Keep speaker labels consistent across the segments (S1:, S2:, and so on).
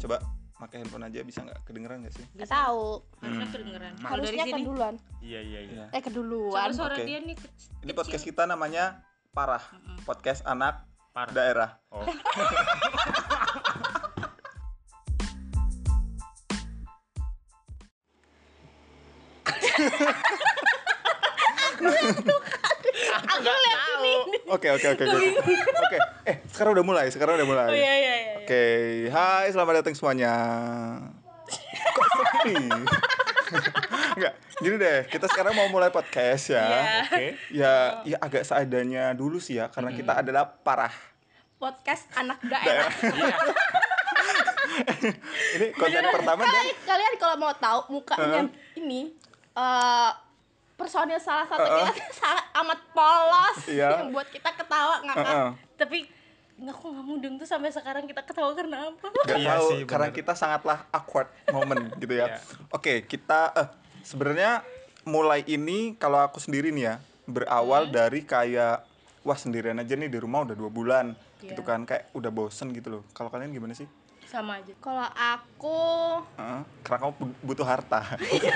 S1: Coba pakai handphone aja bisa nggak kedengeran nggak sih?
S2: Bisa.
S3: tahu
S2: Harusnya
S1: Hmm.
S2: kedengeran. Kalau dari
S3: harusnya
S2: sini.
S3: keduluan
S4: Iya iya iya.
S1: Iya.
S3: eh
S2: Coba
S3: keduluan
S2: suara
S1: Oke.
S2: dia nih kecil.
S1: Ini podcast kita namanya Parah.
S2: Mm-mm.
S1: Podcast anak
S4: Parah.
S1: daerah.
S4: Oh.
S3: aku lihat ini
S1: Oke oke oke oke. Oke. Eh sekarang udah mulai. Sekarang udah mulai.
S2: Oh iya iya iya.
S1: Oke. Hai selamat datang semuanya. Kok sepi? Enggak. Gini deh. Kita sekarang mau mulai podcast ya.
S2: Iya.
S4: Oke.
S1: Ya, ya agak seadanya dulu sih ya, karena kita adalah parah.
S3: podcast anak
S1: Nah,
S3: daerah
S1: Ini konten pertama dan
S3: Kalian- kalian kalau mau tahu mukanya ini eh personil salah satu kita sangat amat polos
S1: Iya.
S3: yang buat kita ketawa ngakak
S1: Heeh.
S2: Tapi nggak kok nggak mudeng tuh sampai sekarang kita ketawa karena apa?
S1: Gak
S4: Iya
S1: tahu
S4: sih, bener.
S1: karena kita sangatlah awkward moment gitu ya.
S4: Iya.
S1: Oke, kita eh sebenarnya mulai ini kalau aku sendiri nih ya berawal dari kayak wah sendirian aja nih di rumah udah dua bulan gitu
S2: Iya.
S1: kan kayak udah bosen gitu loh. Kalau kalian gimana sih?
S2: Sama aja.
S3: kalau aku
S1: Heeh, karena kamu bu- butuh harta.
S4: Butuh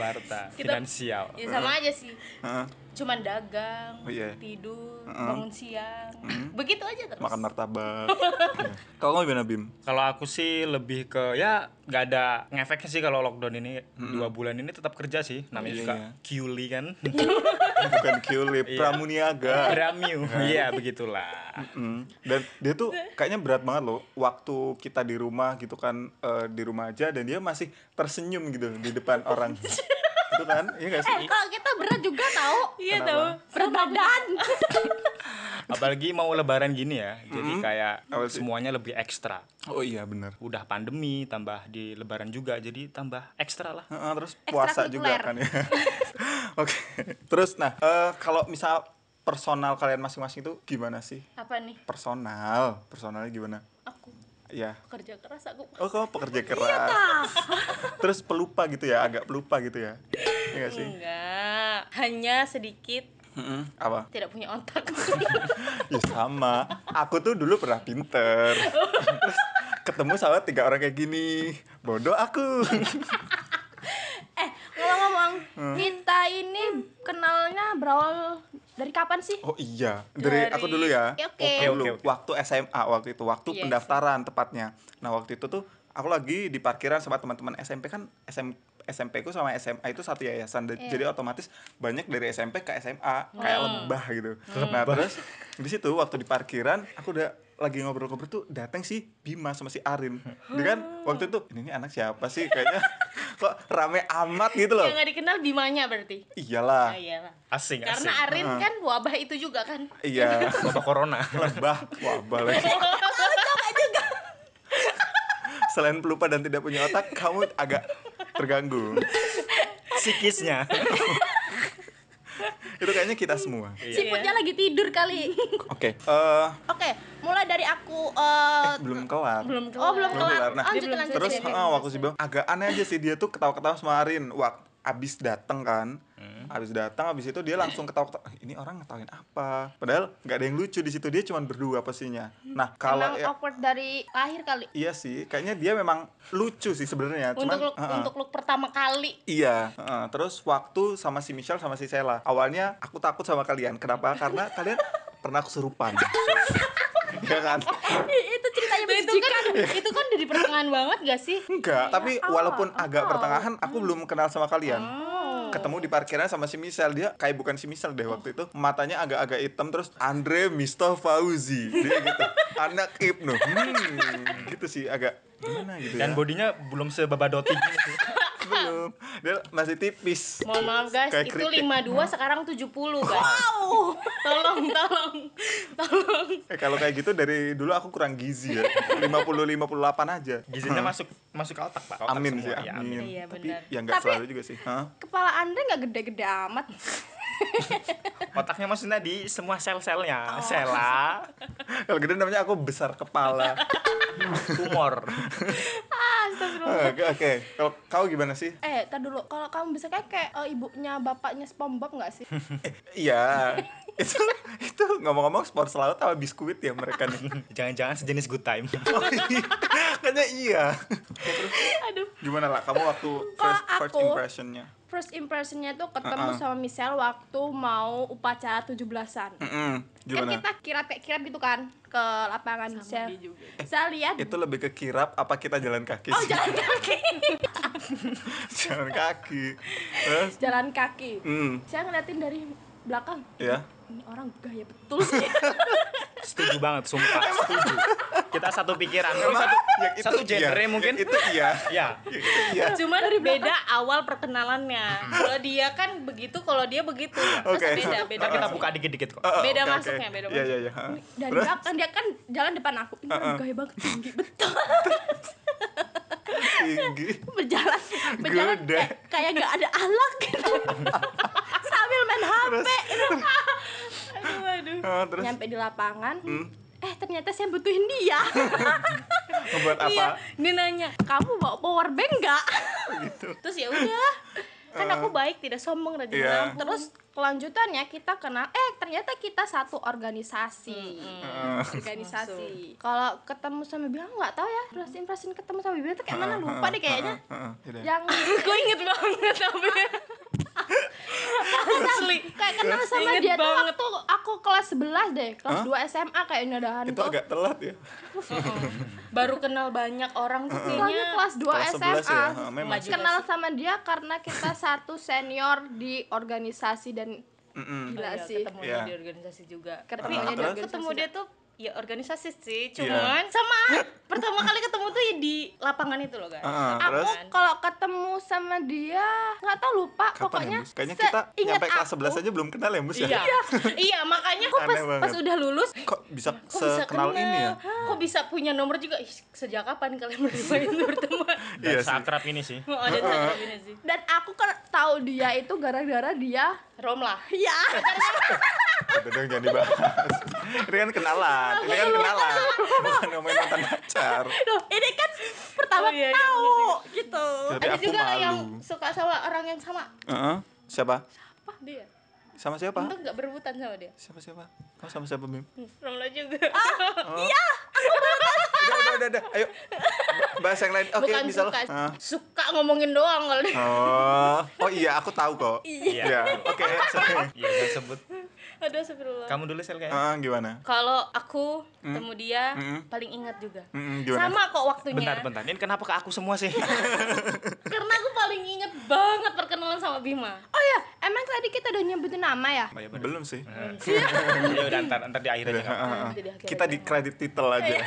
S4: harta
S2: Kita-
S4: finansial.
S2: Ya sama aja sih.
S1: Heeh,
S2: Cuman dagang,
S1: Oh, iya. Hmm.
S2: tidur, bangun siang. Begitu aja terus.
S1: makan martabak. Iya. Kalau kamu gimana Bim?
S4: Kalau aku sih lebih ke ya nggak ada ngefeknya sih kalau lockdown ini dua bulan ini tetap kerja sih. Namanya
S1: Iya,
S4: juga
S1: iya.
S4: Kyuli kan.
S1: Bukan Kyuli,
S4: Iya.
S1: Pramuniaga.
S4: Ramiu. Iya begitulah.
S1: Mm. Dan dia tuh kayaknya berat banget loh waktu kita di rumah gitu kan eh, di rumah aja dan dia masih tersenyum gitu di depan orang. itu kan? Iya gak sih?
S3: eh kalau kita berat juga tahu
S2: Iya
S1: Kenapa?
S2: tahu.
S3: berat badan
S4: Apalagi mau lebaran gini ya. Jadi kayak
S1: Apa sih?
S4: semuanya lebih ekstra.
S1: Oh iya bener.
S4: Udah pandemi tambah di lebaran juga jadi tambah ekstra lah.
S1: Heeh, terus puasa juga
S3: Ekstrakurikuler.
S1: kan ya. Oke. Terus nah eh, kalau misal personal kalian masing-masing itu gimana sih?
S2: Apa nih?
S1: Personal, personalnya gimana?
S2: Aku
S1: Ya.
S2: kerja keras aku.
S1: Oh kamu pekerja keras. Terus pelupa gitu ya, agak pelupa gitu ya. Iya gak sih?
S2: Enggak. Hanya sedikit
S1: Mm-mm. Apa?
S2: tidak punya otak.
S1: Ya sama. Aku tuh dulu pernah pinter. Terus ketemu sama tiga orang kayak gini. Bodoh aku.
S3: eh ngomong-ngomong
S1: Hmm.
S3: kita ini kenalnya berawal dari kapan sih
S1: Oh iya, dari,
S2: Dari-
S1: aku dulu ya.
S3: Ya, oke.
S1: Aku dulu.
S4: Oke, oke, oke.
S1: Waktu SMA waktu itu, waktu
S2: Iya,
S1: pendaftaran tepatnya. Nah, waktu itu tuh aku lagi di parkiran sama teman-teman SMP kan SM SMP ku sama SMA itu satu yayasan Dan jadi otomatis banyak dari SMP ke SMA kayak lembah gitu. Nah, terus di situ waktu di parkiran aku udah lagi ngobrol-ngobrol tuh datang si Bima sama si Arin. Dia kan waktu itu ini, ini anak siapa sih kayaknya kok rame amat gitu loh.
S2: Yang Iya nggak dikenal Bimanya berarti.
S1: Iyalah.
S2: Ah, iyalah.
S1: Ya,
S4: Asing
S2: Karena
S4: asing.
S2: Arin kan wabah itu juga kan.
S1: Iya.
S4: Bapak corona.
S1: lebah wabah lagi
S2: Iya,
S1: selain pelupa dan tidak punya otak kamu agak terganggu
S4: Psikisnya.
S1: Iya. itu kayaknya kita semua
S3: siputnya lagi tidur kali
S1: oke eh
S3: oke mulai dari aku eh,
S1: belum kelar
S2: Belum Iya, kelar.
S3: oh belum
S1: Belum kelar.
S3: kelar
S1: Nah,
S3: lanjut
S2: dia belum
S3: lanjut
S1: terus
S3: lanjut.
S1: ah, waktu sih bilang agak aneh aja sih dia tuh ketawa-ketawa sama Arin waktu abis dateng kan abis datang abis itu dia langsung ketawa-ketawa "Ah, ini orang ngetawain apa padahal nggak ada yang lucu di situ dia cuma berdua pastinya nah
S3: Emang
S1: kalau ya-
S3: awkward dari lahir kali
S1: iya sih kayaknya dia memang lucu sih sebenarnya cuman
S2: untuk look,
S1: ah, ah.
S2: untuk look pertama kali.
S1: Iya, heeh. terus waktu sama si Michelle sama si Sela. Awalnya aku takut sama kalian. Kenapa? Karena kalian pernah kesurupan. Iya kan?
S3: itu ceritanya
S2: itu kan itu kan dari pertengahan banget gak sih?
S1: Enggak, tapi
S2: Iya,
S1: walaupun agak pertengahan aku belum kenal sama kalian.
S2: Oh.
S1: Ketemu di parkiran sama si Michelle, dia kayak bukan si Michelle deh waktu itu. Matanya agak-agak hitam terus Andre Mister Fauzi. Dia gitu. Anak Ibnu. Hmm, gitu sih agak gimana gitu ya.
S4: Dan bodinya belum sebabadoti gini sih.
S1: belum. Dia masih tipis.
S2: Mohon maaf guys,
S1: Kayak
S2: itu
S1: keripik.
S2: 52 sekarang 70 guys. Wow. tolong, tolong. Tolong.
S1: Eh kalau kayak gitu dari dulu aku kurang gizi ya. 50 58 aja.
S4: Gizinya masuk masuk ke otak, Pak. Otak
S1: Hmm. Amin
S4: semua.
S1: sih,
S4: Iya,
S1: amin.
S2: Iya,
S1: Tapi
S2: benar.
S1: ya enggak
S3: Tapi-
S1: selalu juga sih. Hah?
S3: kepala anda nggak gede-gede amat
S4: Otaknya maksudnya di semua sel-selnya. Sela,
S1: Kalau gede namanya aku besar kepala.
S4: tumor.
S1: Oke, oke. Kalau kau gimana sih?
S3: eh tar dulu kalau kamu bisa kayak kayak eh, ibunya bapaknya SpongeBob nggak sih
S1: Iya. itu itu ngomong-ngomong sport laut sama biskuit ya mereka nih Oh,
S4: Jangan-jangan sejenis good time.
S1: kayaknya iya
S3: Aduh.
S1: gimana lah kamu waktu
S3: Kalau
S1: first, first
S3: aku-
S1: impressionnya
S3: First impressionnya tuh
S1: Uh-uh.
S3: ketemu sama Michelle waktu mau upacara
S1: Mm-mm.
S3: 17-an. Kan
S1: Hmm, gimana
S3: kita kirap-kirap gitu kan ke lapangan Michelle.
S2: dia juga.
S3: Saya lihat
S1: itu lebih ke kirap apa kita jalan kaki
S3: oh
S1: sih?
S3: jalan kaki.
S1: jalan kaki terus
S3: jalan kaki.
S1: mm,
S3: Saya ngeliatin dari belakang.
S1: ya
S3: Ini orang gaya betul sih.
S4: Setuju banget, sumpah. Setuju. Kita satu pikiran.
S1: Emang
S4: Satu, ya gitu.
S1: yang itu
S4: satu
S1: iya.
S4: genre mungkin.
S1: Yang itu iya
S4: Ya,
S1: iya
S2: Cuman beda awal perkenalannya. Kalau dia kan begitu, kalau dia begitu. Terus
S1: Oke.
S2: beda, beda.
S4: ntar kita
S2: masuk.
S4: buka dikit-dikit kok.
S1: Eh, eh,
S2: Beda
S1: oke, oke.
S2: masuknya, ya, beda
S1: iya iya iya Hah.
S3: Dari
S1: Terus?
S3: belakang dia kan jalan depan aku. Ini orang gaya banget tinggi betul.
S1: tinggi
S3: berjalan berjalan
S1: Gede.
S3: kayak- kayak nggak ada alat gitu sambil main HP itu.
S2: Aduh, aduh.
S1: Ah, terus Hmm.
S3: nyampe di lapangan eh ternyata saya butuhin dia
S1: buat apa Ah,
S2: Iya, dia nanya.
S3: kamu bawa power bank nggak
S2: Terus ya udah. Kan aku baik, tidak sombong dan
S1: Iya.
S2: yeah. Terus
S3: terus kelanjutannya kita kenal eh ternyata kita satu organisasi
S1: Eh,
S3: organisasi kalau ketemu sama bilang nggak tahu ya terus impression ketemu sama bilang
S1: ah,
S3: tuh kayak mana lupa deh kayaknya
S1: eh, eh, yaudah.
S3: yang
S2: gue inget banget tapi asli.
S3: kayak kenal sama
S2: Ingat
S3: dia tuh
S2: banget.
S3: waktu aku kelas 11 deh kelas 2 SMA kayaknya dahan
S1: itu
S3: tuh
S1: agak telat ya
S2: Baru kenal banyak orang tuh
S3: Soalnya
S2: kayaknya.
S3: kelas 2
S1: Kelas 11
S3: SMA.
S1: ya, ha, memang.
S2: Maju
S3: Kenal
S2: kelas.
S3: sama dia karena kita satu senior di organisasi dan
S1: Mm-mm.
S3: gila
S2: Iya,
S3: sih.
S2: ketemunya
S1: Iya.
S2: di organisasi juga tapi
S3: Ketemunya
S1: di
S2: aku
S1: organisasi
S2: ketemu dia tuh ya organisasi sih
S1: Iya.
S2: cuman sama pertama kali ketemu tuh ya di lapangan itu loh guys
S1: Heeh,
S3: Aku
S1: Ah, terus?
S3: kalau ketemu sama dia nggak tahu lupa pokoknya
S1: ya, Mus? Kayaknya kita
S3: seingat
S1: nyampe kelas
S3: aku,
S1: 11 aja belum kenal ya, Mus ya?
S2: iya iya makanya kok
S1: Aneh
S2: pas,
S1: banget.
S2: pas udah lulus
S1: Kok bisa
S2: kok bisa
S1: sekenal ini ya?
S2: kok bisa punya nomor juga Ih, sejak kapan kalian berdua itu berteman
S1: Iya sih.
S4: Dan seakrab ini sih.
S2: oh, ada satu ini sih
S3: Dan aku kan tahu dia itu gara-gara dia
S2: rom lah
S3: ya
S1: Udah dong, jangan dibahas. ini kan kenalan, ini kan kenalan. Bukan ngomongin mantan pacar.
S3: Loh, ini kan pertama
S2: Oh, iya, iya,
S3: tahu
S2: iya,
S3: gitu.
S1: Tapi
S2: ada
S1: aku
S2: juga
S1: malu.
S2: yang suka sama orang yang sama
S1: Heeh. Siapa?
S2: apa dia
S1: Sama siapa?
S2: untuk nggak berebutan sama dia
S1: Siapa siapa? Kamu sama siapa, Bim?
S3: Hmm.
S2: Romla juga
S3: Ah.
S1: Udah, udah, udah, udah. Ayo. Bahas yang lain. Oke,
S2: bukan
S1: bisa lo.
S2: suka
S1: Ah.
S2: suka ngomongin doang kalau dia
S1: Oh. Oh iya, aku tahu kok.
S4: Iya.
S1: Oke. sorry.
S4: Iya, jangan sebut.
S2: aduh astagfirullah
S4: Kamu dulu sel kayaknya.
S1: Ah, gimana?
S2: Kalau aku ketemu dia
S1: Mm.
S2: paling ingat juga.
S1: Mm, gimana?
S2: Sama kok waktunya.
S4: Bentar, bentar. Ini kenapa ke aku semua sih?
S2: Karena aku paling ingat banget perkenalan sama Bima.
S3: Oh ya, emang tadi kita udah nyebutin nama ya?
S4: Iya, bener.
S1: Belum sih.
S4: Ya udah ntar, ntar di akhir aja.
S1: Udah,
S4: nggak
S1: ah,
S4: apa-apa.
S1: ah.
S2: Jadi akhirnya
S1: Kita di kredit title aja. Eh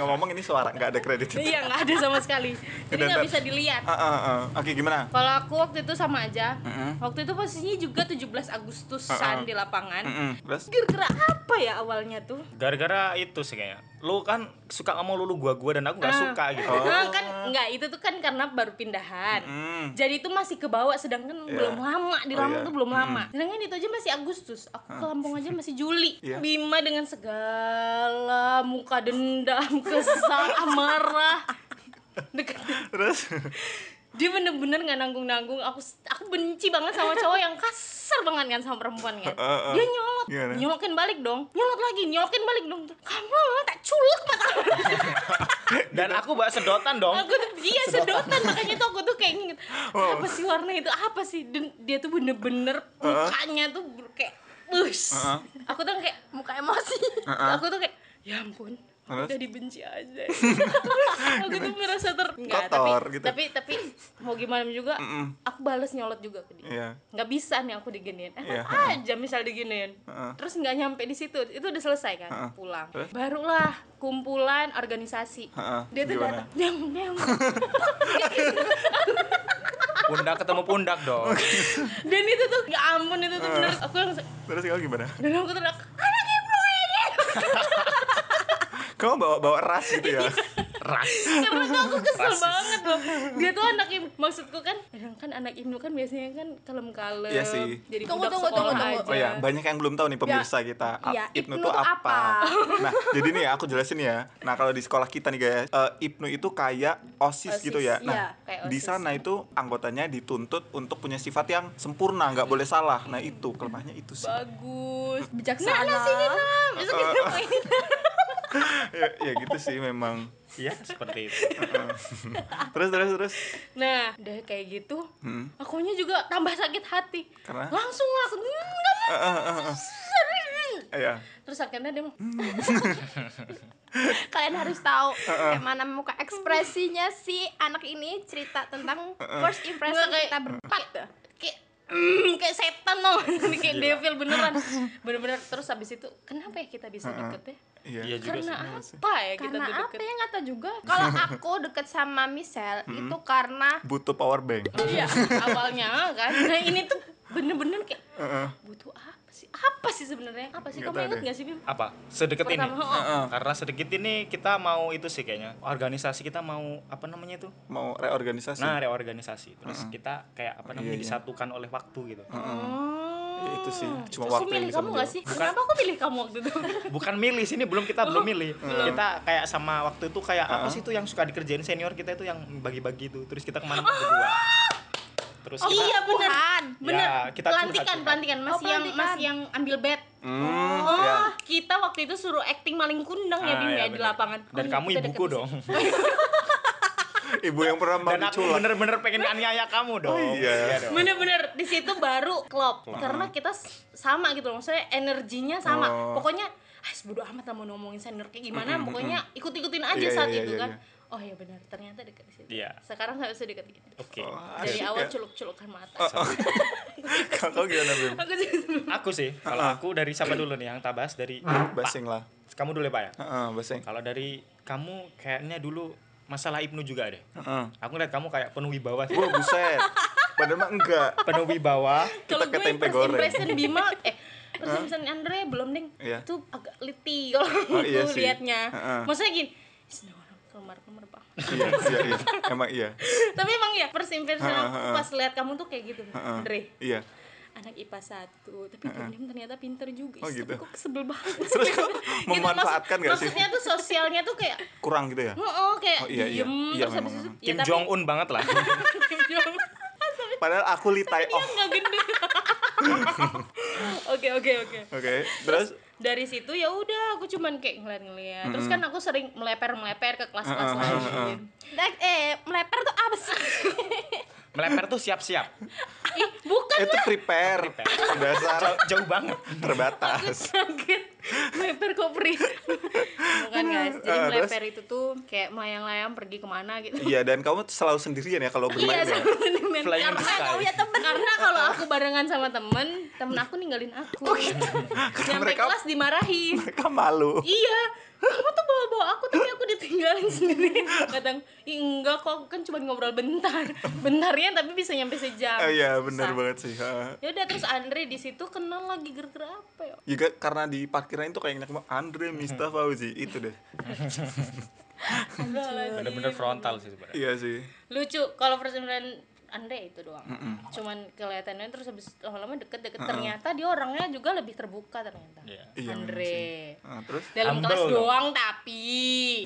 S1: ngomong-ngomong ini suara nggak ada kredit title.
S2: Iya nggak ada sama sekali.
S1: Udah,
S2: Jadi nggak
S1: ntar.
S2: bisa dilihat.
S1: Ah, ah, ah. Oke, gimana?
S2: Kalau aku waktu itu sama aja.
S1: Mm-mm.
S2: Waktu itu posisinya juga 17 Agustusan
S1: Mm-mm.
S2: di lapangan.
S1: Mm-mm. Terus?
S2: Kira-kira apa ya awalnya tuh?
S4: Gara-gara itu sih kayaknya. Lu kan suka ngomong lulu gua-gua dan aku nggak suka gitu.
S1: Oh.
S2: Nah, kan nggak itu tuh kan karena baru pindahan.
S1: Hmm.
S2: Jadi itu masih ke bawah sedangkan
S1: Iya.
S2: belum lama di
S1: Oh, iya.
S2: Lampung
S1: Ah.
S2: tuh belum lama. Sedangkan itu aja masih Agustus. Aku ke Lampung aja masih Juli.
S1: Iya.
S2: Bima dengan segala muka dendam, kesal, amarah. Deket.
S1: Terus?
S2: Dia bener-bener nggak nanggung-nanggung. Aku aku benci banget sama cowok yang kasar banget kan sama perempuan kan.
S1: Heeh, heeh.
S2: Dia nyolot,
S1: Uh-uh. Gimana?
S2: nyolokin balik dong. Nyolot lagi, nyolokin balik dong. Kamu tak culek mata.
S4: Dan aku bawa sedotan dong.
S2: aku tuh dia sedotan makanya tuh aku tuh kayak inget
S1: Wow.
S2: apa sih warna itu apa sih Dan dia tuh bener-bener
S1: Uh-huh.
S2: mukanya tuh ber- kayak bus
S1: Uh-uh.
S2: aku tuh kayak
S3: Muka emosi.
S1: Uh-uh.
S2: aku tuh kayak ya ampun
S1: Terus?
S2: udah dibenci aja aku tuh merasa ter Nggak,
S1: Kotor
S2: tapi,
S1: gitu.
S2: tapi tapi mau gimana juga
S1: Mm-mm.
S2: aku balas nyolot juga ke dia
S1: Iya.
S2: nggak bisa nih aku diginiin
S1: Iya,
S2: enak
S1: heeh.
S2: aja misal diginiin
S1: Heeh.
S2: terus nggak nyampe di situ itu udah selesai kan
S1: Heeh.
S2: pulang
S1: Terus?
S2: barulah kumpulan organisasi
S1: Heeh.
S2: dia tuh
S1: Gimana?
S2: datang nyam nyam
S4: Pundak ketemu pundak dong.
S2: dan itu tuh ya ampun itu tuh bener aku langsung
S1: Terus kamu gimana?
S2: dan aku teriak anak ibu ini Iya.
S1: Kamu bawa bawa ras gitu ya?
S4: ras
S2: Ya menurut aku kesel
S4: Rasis.
S2: banget loh. Dia tuh anak im, maksudku kan, kadang kan anak imnu kan biasanya kan kalem-kalem.
S1: Iya sih.
S2: Jadi
S3: Tunggu,
S2: budak
S3: tunggu,
S2: sekolah
S3: tunggu, tunggu.
S2: aja.
S1: Oh ya, banyak yang belum tahu nih pemirsa kita. A-
S3: iya,
S1: Ibnu,
S3: Ibnu
S1: tuh
S3: tuh
S1: apa?
S3: apa?
S1: nah, jadi nih ya, aku jelasin ya. Nah, kalau di sekolah kita nih guys, eh, Ibnu itu kayak OSIS,
S2: OSIS,
S1: gitu ya.
S3: iya,
S1: Nah,
S2: kayak
S1: di
S2: OSIS.
S1: sana itu anggotanya dituntut untuk punya sifat yang sempurna, nggak boleh salah. Nah, itu kelemahannya itu sih.
S3: bagus
S2: Nah,
S3: bijaksana
S2: nah sini nah, besok kita main.
S1: ya, ya gitu sih memang.
S4: ya seperti itu
S1: Terus terus terus.
S2: Nah, udah kayak gitu,
S1: Hmm.
S2: akunya juga tambah sakit hati.
S1: Karena? Ah,
S2: Langsung aku, "Hmm, nggak mau sering."
S1: Ya.
S2: Terus akhirnya dia bilang,
S1: Hmm.
S3: kalian harus tahu kayak mana muka ekspresinya si anak ini cerita tentang first impression
S2: Nggak, kayak-
S3: kita berempat tuh.
S2: kayak "Mm, kayak setan loh kayak devil beneran bener-bener terus habis itu kenapa ya kita bisa deket ya
S1: Hmm. Iya.
S4: iya juga sih
S2: karena apa ya kita
S3: karena
S2: tuh
S3: apa
S2: deket
S3: ya nggak tahu juga kalau aku deket sama Michelle itu karena
S1: Butuh power bank.
S2: iya awalnya kan nah ini tuh bener-bener kayak butuh apa sih apa sih sebenarnya apa sih
S1: Ah, Nggak
S2: kamu
S1: tahu
S2: inget
S1: deh.
S2: gak sih Bim
S4: apa sedekat ini
S2: Pertama, oh.
S1: Heeh.
S4: karena sedikit ini kita mau itu sih kayaknya organisasi kita mau apa namanya itu
S1: Mau reorganisasi.
S4: nah reorganisasi terus kita kayak apa namanya
S1: Ah. Iya, Ah. iya.
S4: disatukan oleh waktu gitu
S1: Ya, itu sih. Cuma
S2: Oh. Terus
S1: waktu yang
S2: milih
S1: bisa
S2: kamu gak
S1: menjawab.
S2: sih? Kenapa aku pilih kamu waktu itu?
S4: bukan milih sini belum kita
S2: Oh.
S4: belum milih
S1: Ah.
S4: kita kayak sama waktu itu kayak apa sih itu yang suka dikerjain senior kita itu yang bagi-bagi itu terus kita kemana berdua terus
S2: Ah. Oh,
S4: kita Ah,
S2: iya bener
S3: Tuhan.
S2: Bener
S4: Ya, kita curhat,
S2: Pelantikan,
S4: curhat.
S2: pelantikan Mas
S3: Oh,
S2: yang
S3: pelantikan.
S2: mas yang ambil bed
S1: Hmm,
S2: Oh,
S1: ya.
S2: kita waktu itu suruh acting maling kundang ya
S4: Ah,
S2: Bim
S4: iya,
S2: ya di
S4: bener.
S2: lapangan
S4: dan
S2: Oh,
S4: kamu
S2: kita
S4: ibuku
S2: deket di
S4: dong
S1: Ibu yang pernah
S4: dan
S1: mau
S4: aku
S1: diculik.
S4: bener-bener pengen aniaya kamu dong
S1: iya.
S4: dong.
S2: bener-bener di situ baru klop karena kita s- sama gitu loh maksudnya energinya sama
S1: Oh.
S2: pokoknya ah bodo amat lah mau ngomongin senior kayak gimana pokoknya ikut-ikutin aja
S1: Iya,
S2: saat
S1: iya,
S2: itu
S1: iya,
S2: kan
S1: iya.
S2: oh ya benar ternyata dekat di situ
S4: Iya.
S2: sekarang saya sudah dekat gitu
S4: oke
S1: Oh,
S2: dari
S1: asik
S2: awal
S1: ya.
S2: culuk-culukan mata
S1: Kau gimana, Bim?
S2: aku sih
S4: aku sih kalau aku dari siapa dulu nih yang tak bahas dari
S1: Basing lah.
S4: Pak. kamu dulu ya pak ya
S1: Heeh, basing.
S4: kalau dari kamu kayaknya dulu masalah Ibnu juga deh
S1: Heeh.
S4: aku ngeliat kamu kayak penuh wibawa sih.
S1: Wah, buset. Padahal mah enggak.
S4: penuh wibawa
S1: Kita
S2: kalau
S1: ke
S2: gue
S1: tempe
S2: first
S1: goreng.
S2: impression Bima eh first impression Andre belum ding
S1: Iya.
S2: itu agak liti kalau
S1: Oh, iya
S2: aku
S1: sih.
S2: liatnya
S1: Heeh.
S2: maksudnya gini "Is, no, no, kelemar-kelemar pak
S1: iya, iya, iya. Emang iya.
S2: tapi emang ya first impression
S1: Heeh,
S2: aku
S1: heeh.
S2: pas lihat kamu tuh kayak gitu
S1: Heeh.
S2: Andre
S1: Iya.
S2: anak IPA satu tapi Bim ternyata pinter
S1: Oh,
S2: juga Ih,
S1: gitu.
S2: tapi kok sebel banget
S1: Terus kamu
S2: Gitu,
S1: memanfaatkan
S2: maksud-
S1: nggak sih?
S2: maksudnya tuh sosialnya tuh kayak
S1: Kurang gitu ya?
S2: oh, oh kayak
S1: Oh, iya, iya.
S2: diem
S1: Iya,
S2: terus
S1: memang,
S2: habis itu
S1: memang.
S2: ya,
S4: Kim
S2: tapi-
S4: Jong Un banget lah
S2: Kim Jong
S1: Padahal aku litai off.
S2: nggak gendut oke oke oke
S1: Oke, terus
S2: dari situ ya udah aku cuman kayak ngeliat-ngeliat terus kan aku sering meleper meleper ke kelas-kelas
S1: Heeh, heeh,
S2: lain
S3: Dan- eh meleper tuh apa sih
S4: meleper tuh siap-siap
S2: ih bukan
S1: itu prepare.
S4: prepare.
S1: Dasar
S4: Jauh- jauh banget
S1: terbatas.
S2: kaget meleper kok Pri bukan guys
S1: Eh,
S2: jadi
S1: terus?
S2: meleper itu tuh kayak melayang-layang pergi kemana gitu
S1: Iya, dan kamu selalu sendirian ya kalau
S2: iya
S1: bermain ya.
S2: sama temen
S4: Flying
S2: karena
S4: sky.
S2: kalau ya temen karena kalau aku barengan sama temen temen aku ninggalin aku nyampe
S1: mereka-
S2: kelas dimarahin
S1: Mereka malu.
S2: iya kamu tuh bawa-bawa aku tapi aku ditinggalin sendiri kadang "Ih, enggak kok aku kan cuma ngobrol bentar bentarnya tapi bisa nyampe sejam
S1: Oh, iya, benar
S2: Susah.
S1: banget sih. Heeh.
S2: ya udah terus Andre di situ kenal lagi gara-gara apa ya
S1: Juga karena di parkiran itu kayak enak banget. Andre
S2: Mm-hmm.
S1: Mista Fauzi itu deh.
S2: Enggak lagi.
S4: bener-bener frontal sih sebenarnya
S1: Iya sih.
S2: lucu kalau first impression Andre itu doang cuman kelihatannya terus habis lama-lama deket-deket ternyata dia orangnya juga lebih terbuka ternyata
S4: Iya.
S1: Iya, memang
S2: Andre
S1: Nah, terus
S2: dalam
S4: Humble
S2: kelas
S4: dong.
S2: doang tapi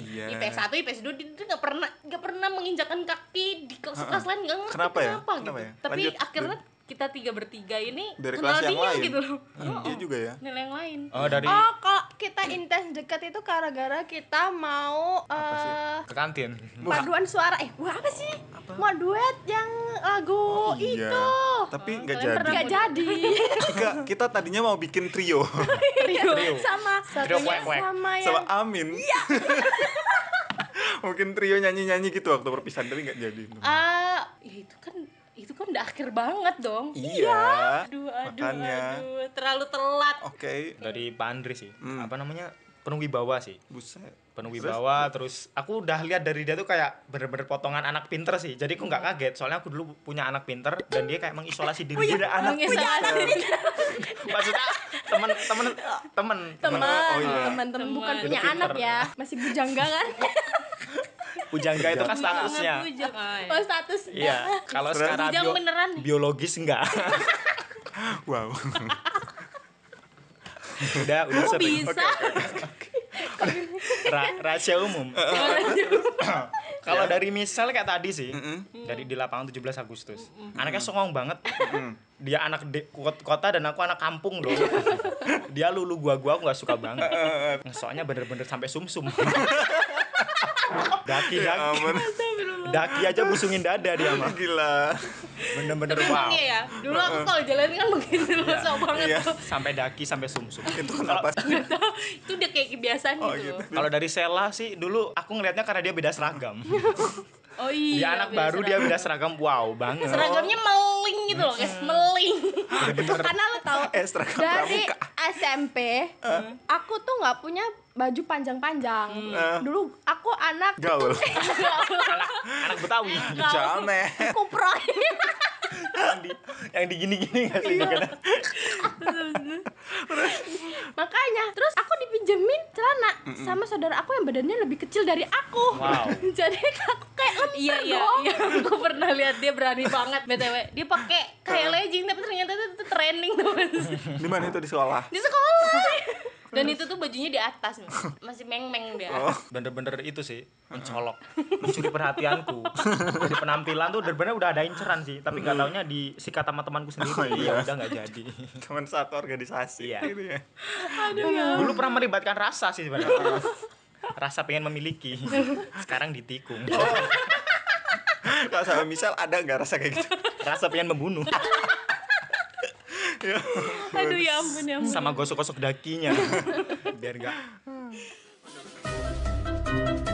S1: Iya.
S2: IPS 1 IPS 2 dia dia nggak pernah nggak pernah menginjakan kaki di kelas kelas lain nggak ngerti
S1: Kenapa
S2: kenapa,
S1: ya? Kenapa
S2: gitu
S1: ya?
S2: tapi
S1: Lanjut.
S2: akhirnya kita tiga bertiga ini
S1: dari kelas
S2: kenal
S1: yang
S2: dia
S1: lain.
S2: gitu loh
S1: Hmm, Iya juga ya.
S2: kenal yang lain
S4: oh dari
S2: Ah.
S3: oh kalau kita intens dekat itu gara-gara kita mau
S1: sih?
S3: eh
S4: ke kantin
S3: paduan suara eh gua apa sih mau duet yang lagu
S1: Iya.
S3: itu Iya.
S1: Tapi nggak
S2: Oh, kalian
S1: jadi.
S2: pernah
S3: nggak jadi
S1: Enggak, kita tadinya mau bikin trio
S4: trio
S3: sama
S4: Trio kuek-kuek.
S3: sama yang
S1: sama Amin.
S2: Iya.
S1: Mungkin trio nyanyi-nyanyi gitu waktu perpisahan tapi nggak jadi.
S2: ah ya itu kan itu kan udah akhir banget dong
S1: Iya.
S2: aduh aduh
S1: Makanya.
S2: aduh terlalu telat
S1: Oke,
S4: dari Pak Andri sih
S1: Hmm.
S4: apa namanya penuh wibawa sih
S1: buset.
S4: penuh
S1: Terus?
S4: wibawa terus aku udah lihat dari dia tuh kayak bener-bener potongan anak pinter sih jadi aku nggak kaget soalnya aku dulu punya anak pinter dan dia kayak mengisolasi diri dia
S1: Udah anak
S2: Mengisolasi.
S4: maksudnya temen temen temen
S3: teman
S1: Oh, iya.
S3: teman Iya. teman bukan
S2: Teman.
S3: punya anak ya masih bujangga kan
S4: Pujangga itu kan
S2: Ingat
S4: statusnya.
S2: bujang, ay.
S3: Oh status.
S4: Iya, kalau
S1: Terus?
S4: secara
S2: Bujang
S4: bio-
S2: beneran nih.
S4: biologis enggak.
S1: wow
S4: udah, udah
S2: Kok
S4: sering.
S2: Oh, bisa?
S4: Ra- rahasia umum. Kalau
S1: Ya.
S4: dari misal kayak tadi sih, dari di lapangan 17 Agustus. Anaknya songong banget. Dia anak de- kot- kota dan aku anak kampung dong. Dia lulu gua-gua aku nggak suka banget. Soalnya bener-bener sampai sumsum. daki
S1: ya
S4: daki,
S1: ampun
S4: daki aja busungin dada dia mah.
S1: gila
S4: Bener-bener
S2: Tapi
S4: wow.
S2: emang iya ya, dulu aku kalau jalan kan begitu rasa banget
S1: Iya.
S2: tuh.
S4: Sampai daki sampai sumsum.
S1: itu kenapa sih?
S2: Gak tau, itu udah kayak kebiasaan
S1: oh
S2: gitu.
S1: gitu
S4: Kalau dari Sela sih dulu aku ngelihatnya karena dia beda seragam.
S2: Oh iya.
S4: Dia anak
S2: beda
S4: baru dia
S2: seragam.
S4: beda seragam. Wow banget.
S2: Seragamnya meling gitu loh, guys, meling.
S3: Itu karena lo tau
S1: eh seragam
S3: dari
S1: pramuka Eh.
S3: SMP aku tuh nggak punya baju panjang-panjang. Dulu aku anak
S1: Eh. gaul
S4: anak, anak Betawi.
S1: jame
S3: kuproy.
S4: yang di yang di gini-gini gak sih?
S1: Iya.
S4: Bukan.
S3: Makanya terus aku dipinjemin celana sama saudara aku yang badannya lebih kecil dari aku.
S4: Wow.
S3: Jadi aku kayak lemper
S2: iya iya
S3: dong.
S2: iya aku pernah lihat dia berani banget btw dia pakai kayak legging tapi ternyata itu, itu training teman
S1: di mana itu di sekolah
S2: di sekolah dan itu tuh bajunya di atas Mas. masih meng meng dia
S1: Oh.
S4: Bener-bener itu sih mencolok, mencuri perhatianku. Di penampilan tuh bener-bener udah ada inceran sih, tapi gak taunya disikat sama temanku sendiri.
S1: Oh, iya.
S4: Ya udah gak jadi.
S1: teman satu organisasi
S4: Iya.
S1: gitu ya
S4: Dulu pernah melibatkan rasa sih sebenarnya. Rasa pengen memiliki. Sekarang ditikung.
S1: kalau sama misal ada nggak rasa kayak gitu
S4: Rasa pengen membunuh
S2: aduh ya ampun ya ampun
S4: sama gosok-gosok dakinya. Biar gak